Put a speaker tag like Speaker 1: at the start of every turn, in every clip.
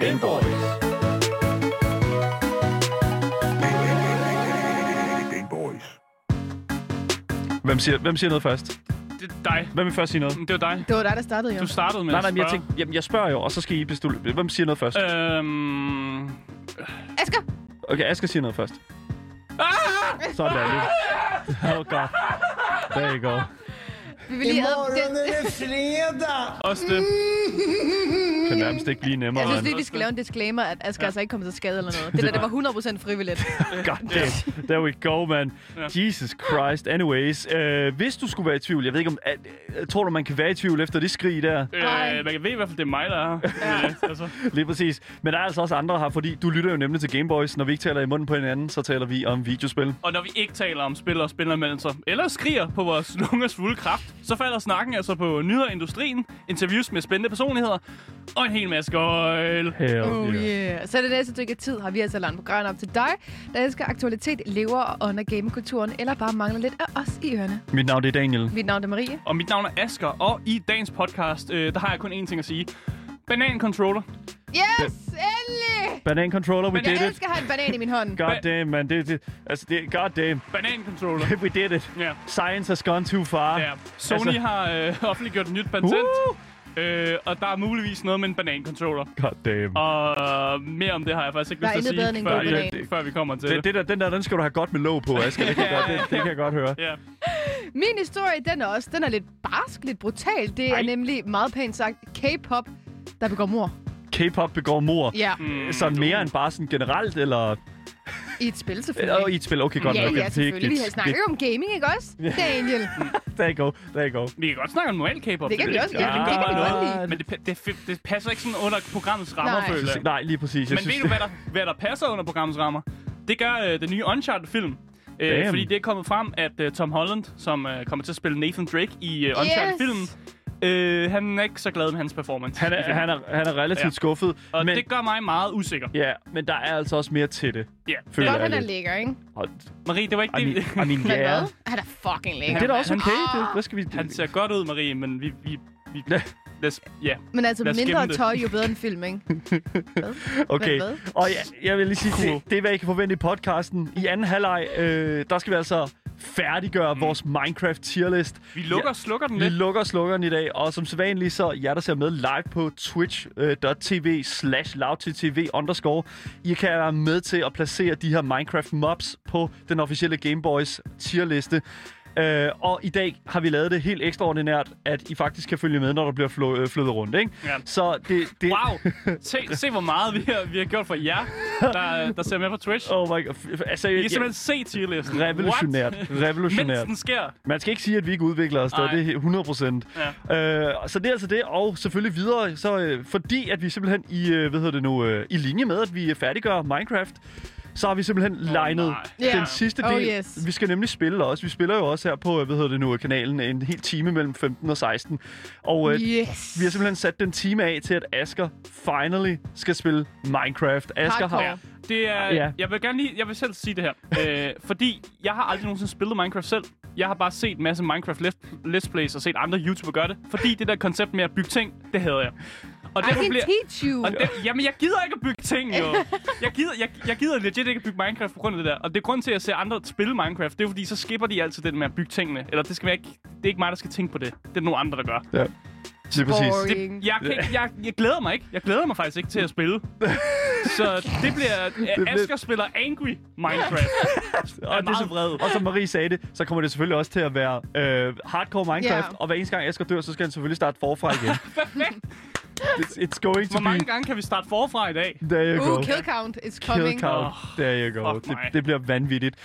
Speaker 1: Game Boys.
Speaker 2: Game Boys.
Speaker 3: Hvem siger, hvem siger noget først?
Speaker 4: Det er dig.
Speaker 3: Hvem vil først sige noget?
Speaker 4: Det var dig.
Speaker 5: Det var dig, der startede, jo.
Speaker 4: Du startede med
Speaker 3: Nej,
Speaker 4: at
Speaker 3: nej, men jeg
Speaker 4: spørge.
Speaker 3: tænkte, jamen, jeg spørger jo, og så skal I beslutte. Hvem siger noget først?
Speaker 4: Øh. Øhm...
Speaker 5: Asger!
Speaker 3: Okay, jeg skal sige noget først. Sådan der, lige. Oh god. There you go.
Speaker 5: Vi vil lige ad... Det,
Speaker 4: Også det.
Speaker 3: Kan nærmest ikke blive nemmere.
Speaker 5: jeg synes
Speaker 3: end-
Speaker 5: lige, vi skal lave en disclaimer, at Asger altså ikke kommet til skade eller noget. Det der, det var 100% frivilligt.
Speaker 3: God damn. There we go, man. Jesus Christ. Anyways, øh, hvis du skulle være i tvivl, jeg ved ikke om... At, øh, tror du, man kan være i tvivl efter det skrig der?
Speaker 4: Øh, man kan ved i hvert fald, det er mig, der er her. Øh, altså.
Speaker 3: Lige præcis. Men der er altså også andre her, fordi du lytter jo nemlig til Gameboys. Når vi ikke taler i munden på hinanden, så taler vi om videospil.
Speaker 4: Og når vi ikke taler om spil og spilanmeldelser, eller skriger på vores lungers fulde kraft, så falder snakken altså på nyheder i industrien, interviews med spændende personligheder, og en hel masse gøjl.
Speaker 3: Hell
Speaker 5: Oh yeah. Så det næste stykke tid har vi altså landet programmet op til dig, der elsker aktualitet, lever og ånder gamekulturen, eller bare mangler lidt af os i ørerne.
Speaker 3: Mit navn det er Daniel.
Speaker 5: Mit navn er Marie.
Speaker 4: Og mit navn er Asker, og i dagens podcast, øh, der har jeg kun én ting at sige. Banan controller.
Speaker 5: Yes! Endelig!
Speaker 3: Banan controller, we
Speaker 4: Men jeg
Speaker 3: did
Speaker 5: Jeg
Speaker 3: it.
Speaker 5: elsker at have en banan i min hånd.
Speaker 3: God damn, man. Det, det, altså, det, god damn.
Speaker 4: Banan controller.
Speaker 3: We did it.
Speaker 4: Ja.
Speaker 3: Science has gone too far.
Speaker 4: ja. Sony
Speaker 3: Altså- Uh.
Speaker 4: har øh, offentliggjort et nyt patent, øh, og der er muligvis noget med en banan controller.
Speaker 3: God damn.
Speaker 4: Og øh, mere om det har jeg faktisk ikke
Speaker 5: Der er
Speaker 4: lyst til
Speaker 5: intet
Speaker 4: at
Speaker 5: bedre end
Speaker 4: sige,
Speaker 5: en
Speaker 4: før,
Speaker 5: god
Speaker 4: vi-
Speaker 3: banan.
Speaker 4: før vi kommer til
Speaker 3: Det,
Speaker 4: det.
Speaker 3: det der, den der, den skal du have godt med låg på, Asger. Det kan, jeg godt, det, det kan jeg godt høre.
Speaker 4: Ja.
Speaker 5: Min historie, den er også, den er lidt barsk, lidt brutal. Det er
Speaker 3: Ej.
Speaker 5: nemlig meget pænt sagt K-pop, der begår mor.
Speaker 3: K-pop begår mor.
Speaker 5: Ja,
Speaker 3: Yeah. Sådan mere end bare sådan generelt, eller...
Speaker 5: i et spil selvfølgelig.
Speaker 3: Eller i et spil. Okay, godt
Speaker 5: ja,
Speaker 3: nok.
Speaker 5: ja, selvfølgelig. Vi har
Speaker 3: det,
Speaker 5: snakket om gaming, ikke også? Daniel.
Speaker 3: there you go, there you go.
Speaker 4: Vi kan godt snakke om normal K-pop.
Speaker 5: Det kan vi også. Ja,
Speaker 4: Ja,
Speaker 5: det kan
Speaker 4: gør
Speaker 5: vi
Speaker 4: noget.
Speaker 5: godt lide.
Speaker 4: Men det, pa- det, fi- det passer ikke sådan under programmets rammer,
Speaker 5: Nej.
Speaker 4: føler jeg.
Speaker 3: Nej, lige præcis. Jeg
Speaker 4: Men ved du, hvad der, hvad der passer under programmets rammer? Det gør øh, den nye Uncharted-film. Øh,
Speaker 3: Damn.
Speaker 4: fordi det er kommet frem, at øh, Tom Holland, som øh, kommer til at spille Nathan Drake i øh, Uncharted-filmen, øh, han er ikke så glad med hans performance.
Speaker 3: han,
Speaker 4: i
Speaker 3: er,
Speaker 4: filmen.
Speaker 3: han, er, han er relativt
Speaker 4: Ja.
Speaker 3: ja. skuffet,
Speaker 4: Og
Speaker 3: men,
Speaker 4: men... det gør mig meget usikker.
Speaker 3: ja, men der er altså også mere til det.
Speaker 4: Ja.
Speaker 3: Føler
Speaker 5: Godt, han er
Speaker 3: jeg lidt.
Speaker 5: lækker, ikke?
Speaker 3: Og-
Speaker 4: Marie, det var ikke
Speaker 3: I mean,
Speaker 4: det.
Speaker 3: I mean,
Speaker 5: Men
Speaker 3: yeah.
Speaker 5: hvad? Ah. Han er fucking
Speaker 3: Men
Speaker 5: lækker.
Speaker 3: det er da også
Speaker 4: Han-
Speaker 3: okay. Det, hvad skal vi...
Speaker 4: Han ser godt ud, Marie, men vi... vi, vi
Speaker 3: Ja.
Speaker 4: lad os, ja.
Speaker 5: Men altså,
Speaker 4: Lad os
Speaker 5: mindre
Speaker 4: gemme det.
Speaker 5: tøj jo bedre end film, ikke?
Speaker 3: Okay,
Speaker 5: hvad?
Speaker 3: og jeg, jeg vil lige sige, det, det er, hvad I kan forvente i podcasten. I anden halvleg, øh, der skal vi altså færdiggøre mm. vores Minecraft tierlist.
Speaker 4: Vi lukker
Speaker 3: Ja.
Speaker 4: og slukker den
Speaker 3: Vi
Speaker 4: lidt.
Speaker 3: lukker slukkeren i dag, og som sædvanligt så jer, der ser med live på twitch.tv slash loudttv underscore. I kan være med til at placere de her Minecraft mobs på den officielle Gameboys tierliste. Øh, og i dag har vi lavet det helt ekstraordinært, at I faktisk kan følge med, når der bliver flå, øh, flyttet rundt, ikke?
Speaker 4: Ja.
Speaker 3: Så det... det
Speaker 4: Wow, se, se hvor meget vi har, vi har gjort for jer, der, der ser med på Twitch.
Speaker 3: Oh my god. F- Altså,
Speaker 4: I kan simpelthen se tierlisten.
Speaker 3: Revolutionært.
Speaker 4: What? Mens
Speaker 3: Revolutionært.
Speaker 4: den sker.
Speaker 3: Man skal ikke sige, at vi ikke udvikler os, der
Speaker 4: Nej.
Speaker 3: det er 100 procent. Ja. Øh, så det er altså det, og selvfølgelig videre, så, øh, fordi at vi simpelthen i, øh, hvad hedder det nu, øh, i linje med, at vi øh, færdiggør Minecraft, så har vi simpelthen oh, legnet
Speaker 4: nej.
Speaker 3: den
Speaker 5: Ja.
Speaker 3: sidste
Speaker 5: Oh,
Speaker 3: del.
Speaker 5: yes.
Speaker 3: Vi skal nemlig spille også. Vi spiller jo også her på, øh, hvad hedder det nu, øh, kanalen en hel time mellem 15 og 16. Og øh,
Speaker 5: Yes.
Speaker 3: vi har simpelthen sat den time af til, at Asker finally skal spille Minecraft. Asker
Speaker 5: Hardcore.
Speaker 3: har...
Speaker 4: Ja. Det er,
Speaker 3: Ja.
Speaker 4: ja. Jeg vil gerne lige, jeg vil selv sige det her, øh, fordi jeg har aldrig nogensinde spillet Minecraft selv. Jeg har bare set en masse Minecraft let's, let's plays og set andre YouTubere gøre det, fordi det der koncept med at bygge ting, det havde jeg. Og
Speaker 5: I can teach you.
Speaker 4: og det, jamen, jeg gider ikke at bygge ting, jo. Jeg gider, jeg, jeg gider legit ikke at bygge Minecraft på grund af det der. Og det er grunden til, at jeg ser andre spille Minecraft. Det er fordi, så skipper de altid det med at bygge tingene. Eller det, skal jeg ikke, det er ikke mig, der skal tænke på det. Det er nogle andre, der gør.
Speaker 3: Ja. Det er præcis.
Speaker 5: Boring.
Speaker 4: Det, jeg, kan ikke, jeg, jeg glæder mig ikke. Jeg glæder mig faktisk ikke til at spille. Så det bliver...
Speaker 3: bliver-
Speaker 4: Asger spiller Angry Minecraft.
Speaker 3: og, det, er
Speaker 4: meget
Speaker 3: så, og som Marie sagde det, så kommer det selvfølgelig også til at være øh, hardcore Minecraft,
Speaker 5: Ja.
Speaker 3: og hver eneste gang Asger dør, så skal han selvfølgelig starte forfra igen.
Speaker 4: Perfekt.
Speaker 3: it's, it's going to
Speaker 4: Hvor mange
Speaker 3: be...
Speaker 4: gange kan vi starte forfra i dag?
Speaker 3: There you go.
Speaker 5: Uh, kill count is
Speaker 3: Kill
Speaker 5: coming.
Speaker 3: count. There you go.
Speaker 4: Fuck
Speaker 3: Det,
Speaker 4: mig.
Speaker 3: det bliver vanvittigt.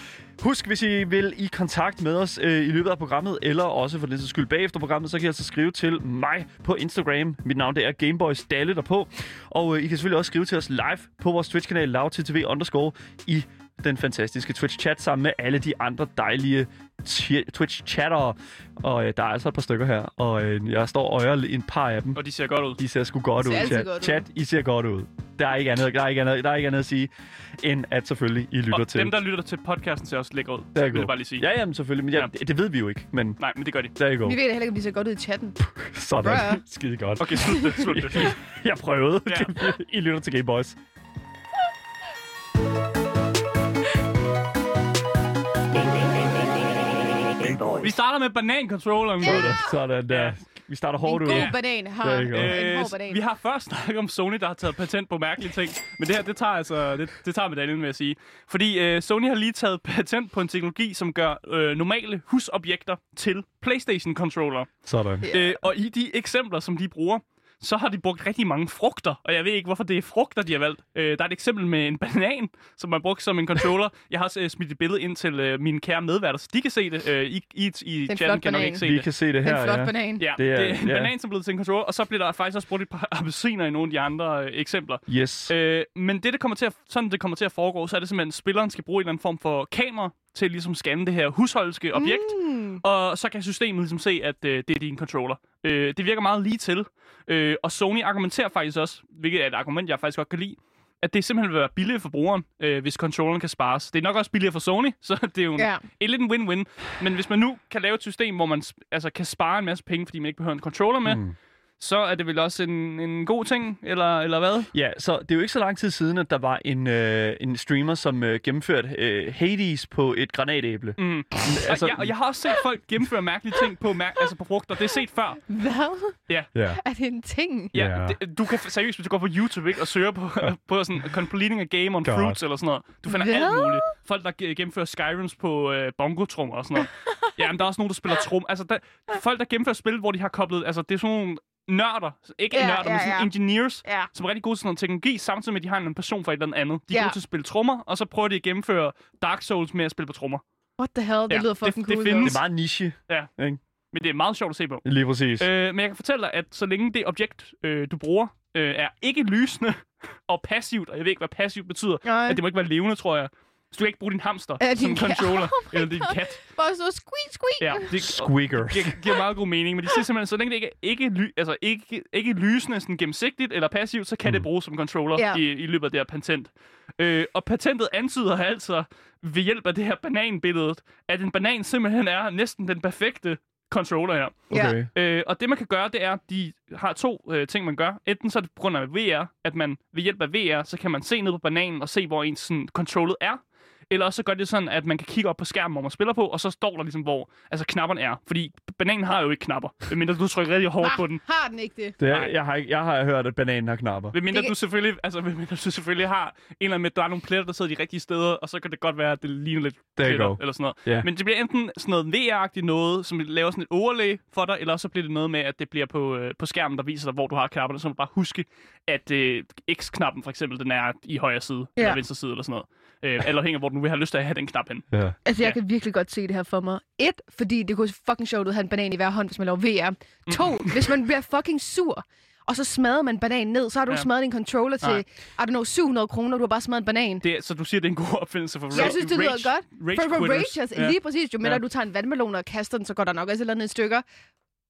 Speaker 3: Husk, hvis I vil i kontakt med os øh, i løbet af programmet, eller også for den sags skyld bagefter programmet, så kan I altså skrive til mig på Instagram. Mit navn det er Gameboys Dalle derpå. Og øh, I kan selvfølgelig også skrive til os live på vores Twitch-kanal lavttv underscore i den fantastiske Twitch-chat sammen med alle de andre dejlige ti- Twitch-chattere. Og øh, der er altså et par stykker her, og øh, jeg står og øjer en par af dem.
Speaker 4: Og de ser godt ud.
Speaker 3: De ser sgu godt
Speaker 5: ser
Speaker 3: ud,
Speaker 5: altid
Speaker 3: chat.
Speaker 5: godt ud.
Speaker 3: Chat, I ser godt ud. Der er ikke andet, der er ikke andet, der er ikke andet at sige, end at selvfølgelig I lytter
Speaker 4: Og
Speaker 3: til.
Speaker 4: dem, der lytter til podcasten, ser også lækker ud.
Speaker 3: Der er
Speaker 4: vil
Speaker 3: god.
Speaker 4: jeg bare lige sige.
Speaker 3: Ja, jamen selvfølgelig, men ja, det, det ved vi jo ikke, men
Speaker 4: Nej, men det gør de.
Speaker 3: der er jo
Speaker 5: Vi ved da heller ikke, om de ser godt ud i chatten.
Speaker 3: Sådan,
Speaker 5: Bruh.
Speaker 3: skide godt.
Speaker 4: Okay, slut det. Slut det.
Speaker 3: Jeg prøvede.
Speaker 4: Ja.
Speaker 3: I lytter til Game Boys.
Speaker 4: Vi starter med banancontrolleren.
Speaker 5: Ja.
Speaker 3: Sådan der. Vi starter
Speaker 5: En
Speaker 3: hårdt ud.
Speaker 5: god banan har
Speaker 3: Det er
Speaker 5: en
Speaker 3: ikke
Speaker 4: Øh,
Speaker 5: hård banan.
Speaker 4: vi har først snakket om Sony, der har taget patent på mærkelige ting, men det her, det tager altså, det, det tager medaljen, vil jeg sige. Fordi øh, Sony har lige taget patent på en teknologi, som gør øh, normale husobjekter til Playstation-controller.
Speaker 3: Sådan.
Speaker 5: Ja.
Speaker 4: Øh, og i de eksempler, som de bruger, så har de brugt rigtig mange frugter, og jeg ved ikke, hvorfor det er frugter, de har valgt. Øh, der er et eksempel med en banan, som man brugt som en controller. Jeg har også øh, smidt et billede ind til øh, mine kære medværter, så de kan se det. Øh, I, I, i
Speaker 5: en
Speaker 4: chatten
Speaker 5: flot
Speaker 4: kan nok
Speaker 5: banan.
Speaker 4: ikke se
Speaker 3: Vi
Speaker 4: det.
Speaker 3: kan se det her,
Speaker 5: en flot
Speaker 3: ja.
Speaker 5: banan.
Speaker 4: Ja,
Speaker 3: Det
Speaker 4: det
Speaker 3: er-
Speaker 4: er, det er en
Speaker 3: ja.
Speaker 4: banan, som er blevet til en controller, og så bliver der faktisk også brugt et par appelsiner i nogle af de andre øh, eksempler.
Speaker 3: Yes.
Speaker 4: Øh, men det, det kommer til at, sådan det kommer til at foregå, så er det simpelthen, at spilleren skal bruge en eller anden form for kamera til at ligesom scanne det her husholdske objekt,
Speaker 5: Mm.
Speaker 4: og så kan systemet ligesom se, at øh, det er din controller. Øh, det virker meget lige til, øh, og Sony argumenterer faktisk også, hvilket er et argument, jeg faktisk godt kan lide, at det simpelthen vil være billigere for brugeren, øh, hvis controlleren kan spares. Det er nok også billigere for Sony, så det er jo en,
Speaker 5: Ja.
Speaker 4: en lidt en win-win. Men hvis man nu kan lave et system, hvor man sp- altså, kan spare en masse penge, fordi man ikke behøver en controller med,
Speaker 3: Mm.
Speaker 4: mm. så er det vel også en, en god ting, eller, eller hvad?
Speaker 3: Ja, så det er jo ikke så lang tid siden, at der var en, øh, en streamer, som øh, gennemførte øh, Hades på et granatæble.
Speaker 4: Mm. Altså,
Speaker 3: altså-
Speaker 4: og, jeg, og jeg har også set folk gennemføre mærkelige ting på, mær- altså på frugter. Det er set før.
Speaker 5: Hvad?
Speaker 3: Ja.
Speaker 5: Er det en ting?
Speaker 4: Ja,
Speaker 3: Ja.
Speaker 4: yeah. det, du kan seriøst, hvis du går på YouTube ikke, og søger på, på sådan completing a game on
Speaker 3: God.
Speaker 4: God. fruits eller sådan noget. Du finder
Speaker 5: Hvad?
Speaker 4: alt muligt. Folk, der ge- gennemfører Skyrims på øh, bongotrummer og sådan noget. ja, men der er også nogen, der spiller trum. Altså, der, folk, der gennemfører spil, hvor de har koblet... Altså, det er sådan nogle nørder. Ikke
Speaker 5: Ja,
Speaker 4: yeah, nørder,
Speaker 5: ja,
Speaker 4: men sådan
Speaker 5: ja.
Speaker 4: engineers,
Speaker 5: Ja.
Speaker 4: som er rigtig gode til sådan noget teknologi, samtidig med, at de har en person fra et eller andet. De er
Speaker 5: Ja.
Speaker 4: yeah. gode til at spille trommer, og så prøver de at gennemføre Dark Souls med at spille på trommer.
Speaker 5: What the hell? Det
Speaker 4: Ja,
Speaker 5: lyder
Speaker 4: det-
Speaker 5: fucking
Speaker 4: det
Speaker 5: cool.
Speaker 4: findes.
Speaker 3: Det er meget niche.
Speaker 4: Men det er meget sjovt at se på.
Speaker 3: Lige præcis.
Speaker 4: Øh, men jeg kan fortælle dig, at så længe det objekt, øh, du bruger, øh, er ikke lysende og passivt, og jeg ved ikke, hvad passivt betyder,
Speaker 5: Nej.
Speaker 4: at det må ikke være levende, tror jeg. Så du kan ikke bruge din hamster
Speaker 5: Ja,
Speaker 4: som
Speaker 5: din kat.
Speaker 4: controller,
Speaker 5: Oh my
Speaker 4: eller din
Speaker 5: God.
Speaker 4: kat.
Speaker 5: Bare så squeak, squeak.
Speaker 4: Ja, det
Speaker 3: Squeaker.
Speaker 4: giver, giver meget god mening, men de siger simpelthen, så længe det ikke er ikke, ly, altså ikke, ikke lysende sådan gennemsigtigt eller passivt, så kan mm. det bruges som controller
Speaker 5: Ja.
Speaker 4: yeah. i, i løbet af det her patent. Øh, og patentet antyder altså, ved hjælp af det her bananbillede, at en banan simpelthen er næsten den perfekte controller her.
Speaker 3: Okay.
Speaker 4: Øh, og det, man kan gøre, det er, at de har to øh, ting, man gør. Enten så er det på grund af VR, at man ved hjælp af VR, så kan man se ned på bananen og se, hvor ens sådan, controllet er. Eller også så gør det sådan, at man kan kigge op på skærmen, hvor man spiller på, og så står der ligesom, hvor altså, knapperne er. Fordi bananen har jo ikke knapper, medmindre du trykker rigtig hårdt på den.
Speaker 5: Ah, har den ikke det?
Speaker 3: Det er,
Speaker 4: Nej.
Speaker 3: jeg, har ikke, jeg har hørt, at bananen har knapper.
Speaker 4: Medmindre
Speaker 5: Det kan-
Speaker 4: du selvfølgelig, altså, medmindre du selvfølgelig har en eller anden med, der er nogle pletter, der sidder de rigtige steder, og så kan det godt være, at det ligner lidt
Speaker 3: There you
Speaker 4: pletter,
Speaker 3: go.
Speaker 4: eller sådan noget.
Speaker 3: Ja.
Speaker 4: Men det bliver enten sådan noget VR-agtigt noget, som laver sådan et overlay for dig, eller også så bliver det noget med, at det bliver på, øh, på skærmen, der viser dig, hvor du har knapperne, så må du bare huske, at øh, X-knappen for eksempel, den er i højre side,
Speaker 5: Ja.
Speaker 4: ja. eller venstre side, eller sådan noget. Øh, eller hænger, hvor du nu vil have lyst til at have den knap hen.
Speaker 3: Ja.
Speaker 5: Altså, jeg
Speaker 4: Ja.
Speaker 5: kan virkelig godt se det her for mig. Et, fordi det kunne se fucking sjovt ud at have en banan i hver hånd, hvis man laver
Speaker 4: Mm.
Speaker 5: VR. To, hvis man bliver fucking sur, og så smadrer man bananen ned, så har du ja.
Speaker 4: Ja.
Speaker 5: smadret en controller til,
Speaker 4: Nej.
Speaker 5: I don't know, 700 kroner, og du har bare smadret en banan.
Speaker 4: Det, er- så du siger, det er en god opfindelse for ra-
Speaker 5: Jeg synes, det lyder
Speaker 4: rage,
Speaker 5: godt.
Speaker 4: Rage
Speaker 5: for, for
Speaker 4: quitters.
Speaker 5: Ragers,
Speaker 4: Ja.
Speaker 5: lige præcis. Jo mindre
Speaker 4: Ja.
Speaker 5: du tager en vandmelon og kaster den, så går der nok også et eller andet i stykker.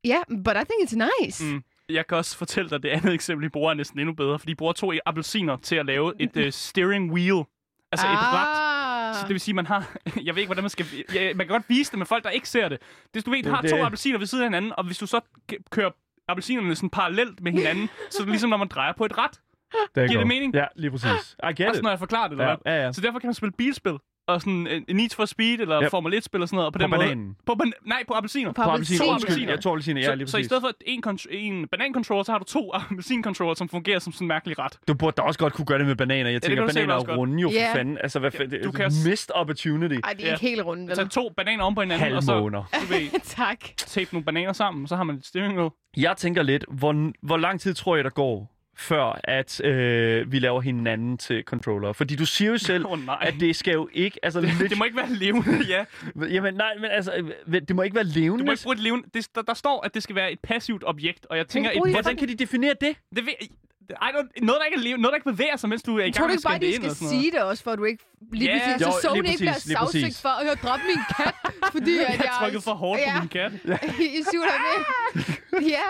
Speaker 5: Ja, yeah, but I think it's nice.
Speaker 4: Mm. Jeg kan også fortælle dig, at det andet eksempel, I bruger, er næsten endnu bedre, for de bruger to appelsiner til at lave et uh, steering wheel. Altså ah. et ret. Så det vil sige, man har... Jeg ved ikke, hvordan man skal... Ja, man kan godt vise det, men folk, der ikke ser det. Hvis du ved, du
Speaker 3: er
Speaker 4: har
Speaker 3: det.
Speaker 4: to appelsiner ved siden af hinanden, og hvis du så k- kører appelsinerne sådan parallelt med hinanden, så er det ligesom, når man drejer på et rat.
Speaker 3: There you
Speaker 4: Giver
Speaker 3: go.
Speaker 4: det mening?
Speaker 3: Ja, lige præcis. I get
Speaker 4: Altså,
Speaker 3: it.
Speaker 4: når jeg forklarer det, eller
Speaker 3: Ja,
Speaker 4: hvad?
Speaker 3: ja, ja.
Speaker 4: Så derfor kan man spille bilspil, og sådan en en Need for Speed, eller
Speaker 3: Ja.
Speaker 4: yep. Formel 1-spil og sådan noget. Og på,
Speaker 3: På
Speaker 4: den
Speaker 3: bananen.
Speaker 4: Måde, på ban- nej, på appelsiner.
Speaker 5: På appelsiner.
Speaker 3: To
Speaker 4: To
Speaker 3: appelsiner.
Speaker 4: appelsiner.
Speaker 3: Ja, to appelsiner. Ja, lige
Speaker 4: så, så i
Speaker 3: præcis.
Speaker 4: stedet for en, kont- en banancontroller, så har du to appelsincontroller, som fungerer som sådan en mærkelig ret.
Speaker 3: Du burde da også godt kunne gøre det med bananer. Jeg
Speaker 4: det
Speaker 3: tænker,
Speaker 4: kan du
Speaker 3: bananer
Speaker 4: sikkert også
Speaker 3: er
Speaker 4: godt.
Speaker 3: runde jo for
Speaker 5: Ja.
Speaker 3: fanden. Altså, hvad fanden?
Speaker 4: du
Speaker 3: Du
Speaker 4: kan
Speaker 3: kan
Speaker 4: også-
Speaker 3: missed opportunity.
Speaker 5: Ej, det er ikke helt rundt, vel?
Speaker 4: Så to bananer om på hinanden,
Speaker 3: Halvmåner.
Speaker 4: og så du ved,
Speaker 5: tak.
Speaker 4: tape nogle bananer sammen, så har man et steering wheel.
Speaker 3: Jeg tænker lidt, hvor, hvor lang tid tror jeg, der går, før at øh, vi laver hinanden til controller? Fordi du siger jo selv,
Speaker 4: Åh, nej.
Speaker 3: at det skal jo ikke... Altså, det,
Speaker 4: Det må ikke være levende, ja.
Speaker 3: Jamen, nej, men altså, øh, det må ikke være levende.
Speaker 4: Du må ikke bruge et levende. Det, der, der står, at det skal være et passivt objekt, og jeg tænker, et,
Speaker 5: bruge
Speaker 4: hvordan,
Speaker 5: det?
Speaker 3: Hvordan kan de definere det?
Speaker 4: det, ved, I don't, noget, der ikke, er leve, noget, der ikke bevæger sig, mens du er i gang
Speaker 5: Tror du
Speaker 4: med at
Speaker 5: ikke bare,
Speaker 4: scanne
Speaker 5: de
Speaker 4: det ind
Speaker 5: skal
Speaker 4: og sådan noget.
Speaker 5: sige det også, for at du ikke lige
Speaker 4: Ja.
Speaker 5: yeah.
Speaker 4: Jo,
Speaker 5: så
Speaker 3: lige
Speaker 5: Sony ikke bliver
Speaker 3: præcis, lige præcis.
Speaker 5: sagsøgt for at høre, drop min kat, fordi at
Speaker 4: Jeg trykkede for hårdt
Speaker 5: ja,
Speaker 4: på min kat.
Speaker 5: I syvende med. Ja,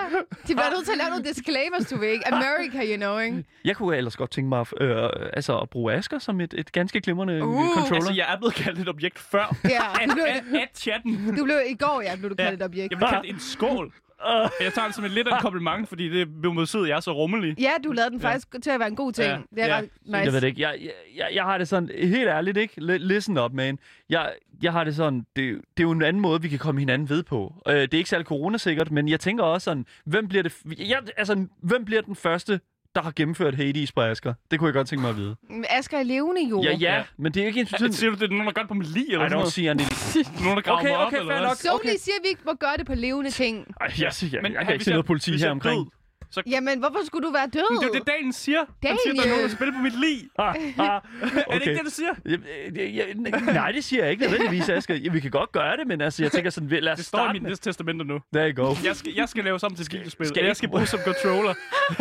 Speaker 5: de bliver nødt til at lave nogle disclaimers, du ved ikke. America, you know, ikke?
Speaker 3: Jeg kunne ellers godt tænke mig at, øh, altså at bruge Asker som et, et ganske glimrende øh,
Speaker 5: Uh.
Speaker 3: controller.
Speaker 4: Altså, jeg er blevet kaldt et objekt før.
Speaker 5: Ja,
Speaker 4: At,
Speaker 5: du blev,
Speaker 4: at, at chatten.
Speaker 5: du blev i går, ja, blev du kaldt et objekt.
Speaker 4: Jeg blev kaldt en skål. Og Jeg tager det som et lidt af en kompliment, fordi det blev mod sød, jeg er så rummelig.
Speaker 5: Ja, du lavede den faktisk til at være en god ting.
Speaker 4: Ja.
Speaker 5: Det er
Speaker 4: Ja.
Speaker 5: ret nice.
Speaker 3: Jeg ved det ikke. Jeg, jeg- jeg, jeg har det sådan, helt ærligt ikke, L- listen up, man. Jeg, jeg har det sådan, det, det er jo en anden måde, vi kan komme hinanden ved på. Øh, det er ikke særlig coronasikkert, men jeg tænker også sådan, hvem bliver, det, f- jeg, altså, hvem bliver den første, der har gennemført Hades på Asger? Det kunne jeg godt tænke mig at vide.
Speaker 5: Men Mm, Asger er levende jo.
Speaker 3: Ja, ja,
Speaker 4: Uh, Ja.
Speaker 3: men det er jo ikke en
Speaker 4: Ja,
Speaker 3: sådan...
Speaker 4: Siger du, det er nogen, der gør det på min lige, eller
Speaker 3: Ej,
Speaker 4: sådan
Speaker 3: don't
Speaker 4: noget?
Speaker 3: sige, Annie.
Speaker 4: Nogen, der graver
Speaker 3: Okay,
Speaker 4: mig op,
Speaker 3: okay,
Speaker 4: eller
Speaker 3: fair
Speaker 4: hvad?
Speaker 3: nok.
Speaker 5: Sony
Speaker 3: Okay.
Speaker 5: siger, at vi ikke må gøre det på levende ting.
Speaker 3: Ej, jeg, jeg, jeg, jeg, jeg
Speaker 4: ej,
Speaker 3: kan ikke
Speaker 4: hvis
Speaker 3: se noget politi
Speaker 4: hvis
Speaker 3: her
Speaker 4: jeg er
Speaker 3: omkring.
Speaker 4: død, så,
Speaker 5: Jamen, hvorfor skulle du være
Speaker 4: Men
Speaker 5: død?
Speaker 4: det er jo det, Daniel siger. Han siger, at der er nogen, der
Speaker 5: Daniel.
Speaker 4: spiller på mit lig.
Speaker 3: Ah, ah,
Speaker 4: Er det ikke det, du siger?
Speaker 3: Jamen, øh, jeg, jeg, nej, det siger jeg ikke nødvendigvis, Asger. Ja, Vi kan godt gøre det, men altså, jeg tænker sådan, lad os
Speaker 4: Det står i
Speaker 3: starte
Speaker 4: mit
Speaker 3: med...
Speaker 4: næste testamenter nu.
Speaker 3: There you go.
Speaker 4: Jeg skal, jeg skal lave sammen til skibespil.
Speaker 3: skal
Speaker 4: Skal
Speaker 3: jeg
Speaker 4: jeg skal
Speaker 3: ikke-
Speaker 4: bruge som controller.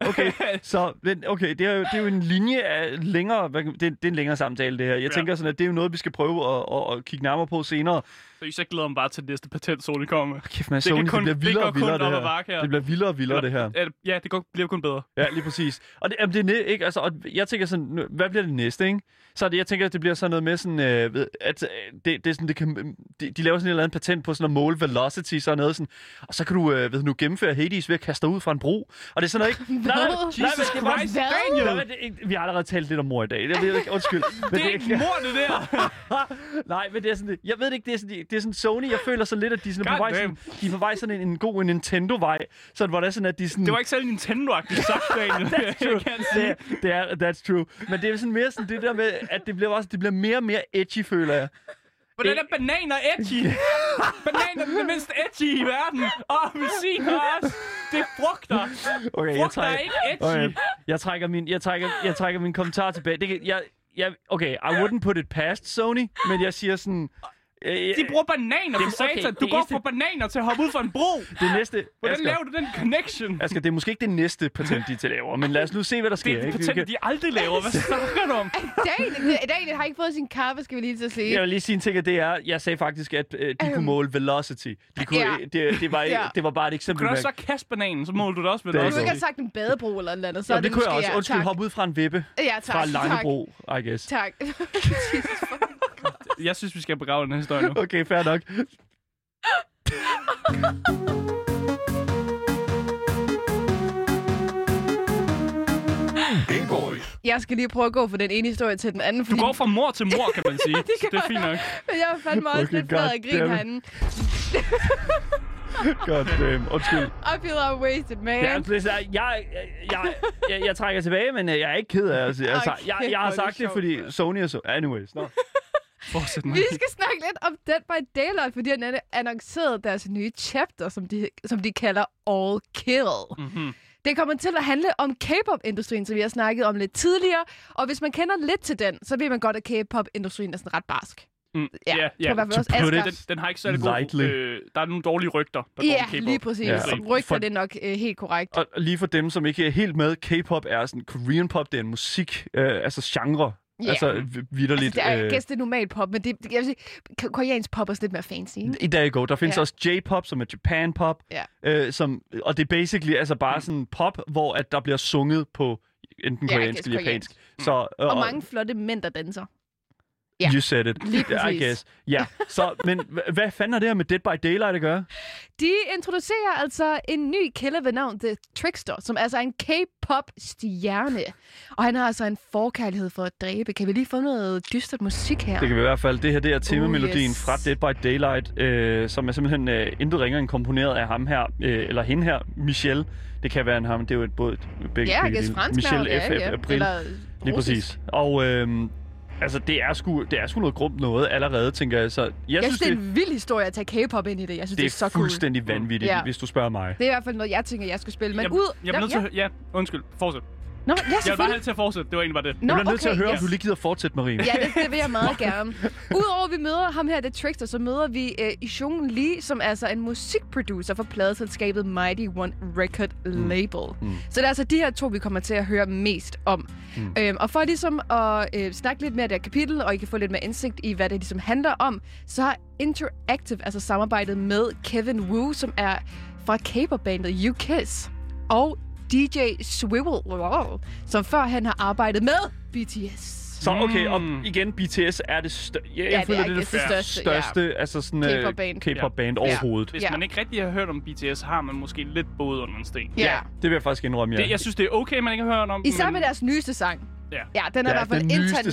Speaker 3: Okay, så men, okay, det er, jo, det er jo en linje af længere, hvad, kan- det, er- det er en længere samtale det her. Jeg
Speaker 4: Ja.
Speaker 3: tænker sådan, at det er jo noget, vi skal prøve at, at, at kigge nærmere på senere.
Speaker 4: Så jeg glæder mig bare til næste patent, Sony kommer. med.
Speaker 3: Kæft, man,
Speaker 4: kan
Speaker 3: Sony, det,
Speaker 4: kun-
Speaker 3: bliver
Speaker 4: det
Speaker 3: vildere
Speaker 4: går
Speaker 3: og
Speaker 4: kun
Speaker 3: vildere, det
Speaker 4: op ad
Speaker 3: her.
Speaker 4: bakke her.
Speaker 3: Det bliver vildere og vildere, det her.
Speaker 4: Er det- Ja, det går, bliver kun bedre.
Speaker 3: Ja, lige præcis. Og det, jamen, det er næ- ikke, altså, og jeg tænker sådan, nu- hvad bliver det næste, ikke? Så er det, jeg tænker, at det bliver sådan noget med sådan, øh, ved- at øh, det, det er sådan, det kan, de, de laver sådan et eller andet patent på sådan at måle velocity, sådan noget sådan, og så kan du, øh, ved nu, gennemføre Hades ved at kaste dig ud fra en bro, og det er sådan noget, ikke? Nej, nej, nej,
Speaker 5: Jesus
Speaker 3: nej, men det er bare-
Speaker 5: Christ,
Speaker 3: Nej,
Speaker 5: Daniel!
Speaker 3: men det, er- vi har allerede talt lidt om mor i dag. Jeg ved ikke, undskyld. Men
Speaker 4: Det er ikke mor, det der.
Speaker 3: Nej, men det er sådan, det- jeg ved det ikke, det er sådan, det det er sådan Sony, jeg føler sådan lidt, at de er, sådan på,
Speaker 4: God
Speaker 3: vej, sådan,
Speaker 4: damn.
Speaker 3: de er på vej sådan en, en god Nintendo-vej, sådan, hvor det er sådan, at de sådan...
Speaker 4: Det var ikke særlig Nintendo-agtigt sagt, Daniel.
Speaker 3: That's true.
Speaker 4: Jeg kan sige.
Speaker 3: Det, det er, that's true. Men det er sådan mere sådan det der med, at det bliver, også, det bliver mere og mere edgy, føler jeg.
Speaker 4: Hvordan er bananer edgy? bananer er det mindst edgy i verden. Og appelsiner også. Det er frugter.
Speaker 3: Okay,
Speaker 4: Frugter er ikke edgy.
Speaker 3: okay, jeg trækker min, jeg trækker, jeg trækker min kommentar tilbage. Det kan, jeg, jeg, okay, I wouldn't put it past Sony, men jeg siger sådan... Øh,
Speaker 4: De bruger bananer
Speaker 3: Det-
Speaker 4: for
Speaker 3: okay,
Speaker 4: satan. Du
Speaker 3: det
Speaker 4: går
Speaker 3: eneste-
Speaker 4: fra bananer til at hoppe ud fra en bro.
Speaker 3: det næste...
Speaker 4: Hvordan
Speaker 3: Asger,
Speaker 4: laver du den connection?
Speaker 3: Asger, det er måske ikke det næste patent, de til laver, men lad os nu se, hvad der sker.
Speaker 4: Det er et
Speaker 3: ikke? Vi
Speaker 4: patent,
Speaker 3: kan-
Speaker 4: de aldrig laver. Hvad snakker du om?
Speaker 5: Daniel, Daniel har ikke fået sin kaffe, skal vi lige til at sige.
Speaker 3: Jeg vil lige sige en ting, og det er, jeg sagde faktisk, at øh, de kunne
Speaker 5: Øhm.
Speaker 3: måle velocity. De kunne,
Speaker 5: Ja.
Speaker 3: øh, det, det, var,
Speaker 5: Ja.
Speaker 3: det var bare et eksempel.
Speaker 4: Kan du
Speaker 3: man-
Speaker 4: også så kaste bananen, så måler du det også ved
Speaker 3: Det er
Speaker 5: Hvis
Speaker 4: det.
Speaker 5: du ikke
Speaker 3: ikke
Speaker 5: har sagt en badebro eller noget andet, så
Speaker 3: Jamen,
Speaker 5: er det,
Speaker 3: det kunne jeg
Speaker 5: måske,
Speaker 3: også.
Speaker 5: ja,
Speaker 3: Undskyld,
Speaker 5: tak.
Speaker 3: hoppe ud fra en vippe.
Speaker 5: Ja, tak.
Speaker 3: Fra Langebro, I guess.
Speaker 5: Tak. tak. Jesus fucking
Speaker 4: Jeg synes, vi skal begrave den her historie nu.
Speaker 3: Okay, fair nok.
Speaker 5: Jeg skal lige prøve at gå fra den ene historie til den anden.
Speaker 4: Du
Speaker 5: Fordi...
Speaker 4: går fra mor til mor, kan man sige.
Speaker 5: Det
Speaker 4: det,
Speaker 5: gør
Speaker 4: det er fint nok.
Speaker 5: Men jeg er fandme også
Speaker 3: Okay,
Speaker 5: lidt flad af
Speaker 3: goddammit.
Speaker 5: grin herinde.
Speaker 3: God damn. Undskyld.
Speaker 5: I feel I'm wasted, man.
Speaker 3: Jeg, jeg, jeg, jeg, jeg, jeg trækker tilbage, men øh, jeg er ikke ked af at sige. Altså,
Speaker 5: Okay,
Speaker 3: jeg, jeg
Speaker 5: hvor er
Speaker 3: har
Speaker 5: det
Speaker 3: sagt det,
Speaker 5: sjovt,
Speaker 3: fordi
Speaker 5: mand.
Speaker 3: Sony er så... Anyways, no.
Speaker 4: Fortsæt nu. Mhm.
Speaker 5: Vi skal snakke lidt om Dead by Daylight, fordi han annoncerede deres nye chapter, som de, som de kalder All Kill.
Speaker 4: Mhm.
Speaker 5: Det kommer til at handle om K-pop-industrien, som vi har snakket om lidt tidligere. Og hvis man kender lidt til den, så ved man godt, at K-pop-industrien er sådan ret barsk.
Speaker 4: Mm,
Speaker 5: Ja,
Speaker 4: ja,
Speaker 5: tror
Speaker 4: ja.
Speaker 5: i hvert fald
Speaker 3: To
Speaker 5: også
Speaker 3: put
Speaker 5: Asger.
Speaker 4: Den, den har ikke særlig god...
Speaker 3: Lightly.
Speaker 4: Øh, der er nogle dårlige rygter, der
Speaker 5: Ja,
Speaker 4: går om
Speaker 5: lige præcis.
Speaker 3: Ja.
Speaker 5: Ja.
Speaker 4: Så
Speaker 5: Rygter
Speaker 3: for-
Speaker 5: det er nok øh, helt korrekt.
Speaker 3: Og lige for dem, som ikke er helt med, K-pop er sådan... Korean pop, det er en musik... Øh, altså genre.
Speaker 5: Ja.
Speaker 3: Altså vi- vitterligt.
Speaker 5: Altså, det er, jeg
Speaker 3: øh,
Speaker 5: gæst, det er normal pop, men det, det- jeg vil sige, k- koreansk pop er sådan lidt mere fancy. ikke?
Speaker 3: I dag går. Der findes ja.
Speaker 5: Ja.
Speaker 3: også J-pop, som er Japan pop,
Speaker 5: Ja.
Speaker 3: øh, som, og det er basically altså bare sådan pop, hvor at der bliver sunget på enten
Speaker 5: Mm. Ja, I
Speaker 3: koreansk
Speaker 5: guess
Speaker 3: eller japansk. Så, øh,
Speaker 5: Og mange flotte mænd, der danser. ja.
Speaker 3: You said it.
Speaker 5: Lige præcis.
Speaker 3: I guess. Ja, så, men h- hvad fanden har det her med Dead by Daylight at gøre?
Speaker 5: De introducerer altså en ny killer ved navn The Trickster, som altså er en K-pop-stjerne. Og han har altså en forkærlighed for at dræbe. Kan vi lige få noget dystert musik her?
Speaker 3: Det kan vi i hvert fald. Det her det er temamelodien
Speaker 5: Uh, yes.
Speaker 3: fra Dead by Daylight, øh, som er simpelthen øh, intet ringer end komponeret af ham her, øh, eller hende her, Michelle. Det kan være en ham, det er jo et både begge,
Speaker 5: Ja, jeg
Speaker 3: begge
Speaker 5: gæst
Speaker 3: dele.
Speaker 5: fransk
Speaker 3: Michelle F.
Speaker 5: ja, ja.
Speaker 3: F. April.
Speaker 5: Eller
Speaker 3: Lige
Speaker 5: russisk.
Speaker 3: præcis. Og øhm, altså, det er, sgu, det er sgu noget grumt noget allerede, tænker jeg. Så jeg,
Speaker 5: Jeg synes, det er
Speaker 3: det,
Speaker 5: en vild historie at tage K-pop ind i det. Jeg synes, det,
Speaker 3: det er
Speaker 5: så cool.
Speaker 3: fuldstændig cool. vanvittigt,
Speaker 5: Ja.
Speaker 3: hvis du spørger mig.
Speaker 5: Det er i hvert fald noget, jeg tænker, jeg skal spille. Men
Speaker 4: jeg,
Speaker 5: ud...
Speaker 4: Jeg bliver nødt til at... Ja, undskyld. Fortsæt.
Speaker 5: Nå, ja,
Speaker 4: Jeg vil bare have
Speaker 5: selvfølgelig.
Speaker 4: det til at fortsætte. Det var egentlig bare det.
Speaker 5: Nå,
Speaker 3: jeg bliver nødt til at høre,
Speaker 5: yes.
Speaker 3: om du lige gider fortsætte, Marie.
Speaker 5: Ja, det, det vil jeg meget gerne. Udover at vi møder ham her, det er Trickster, så møder vi øh, Ishung Lee, som er altså en musikproducer for pladeselskabet Mighty One Record Label. Mm. Så det er altså de her to, vi kommer til at høre mest om. Mm. Øhm, og for ligesom at øh, snakke lidt mere af det her kapitel, og I kan få lidt mere indsigt i, hvad det ligesom handler om, så har Interactive altså samarbejdet med Kevin Wu, som er fra caperbandet U-Kiss, og DJ Swivel, som før han har arbejdet med BTS.
Speaker 3: Så okay, og
Speaker 4: Mm.
Speaker 3: igen, BTS er det største. Ja, jeg
Speaker 5: Ja, det
Speaker 3: føler,
Speaker 5: er-
Speaker 3: det er det,
Speaker 5: det er det
Speaker 3: største,
Speaker 5: største, ja.
Speaker 3: største altså sådan, øh,
Speaker 5: K-pop-band.
Speaker 3: K-pop-band
Speaker 5: Ja.
Speaker 3: overhovedet.
Speaker 4: Hvis
Speaker 5: Ja.
Speaker 4: ja. man ikke rigtig har hørt om BTS, har man måske lidt både under en sten.
Speaker 5: Ja.
Speaker 3: Det vil jeg faktisk indrømme, ja.
Speaker 4: Det, jeg synes, det er okay, man ikke har hørt om.
Speaker 5: Især
Speaker 4: men-
Speaker 5: med deres nyeste sang.
Speaker 4: Ja.
Speaker 5: Ja, den er i hvert fald international.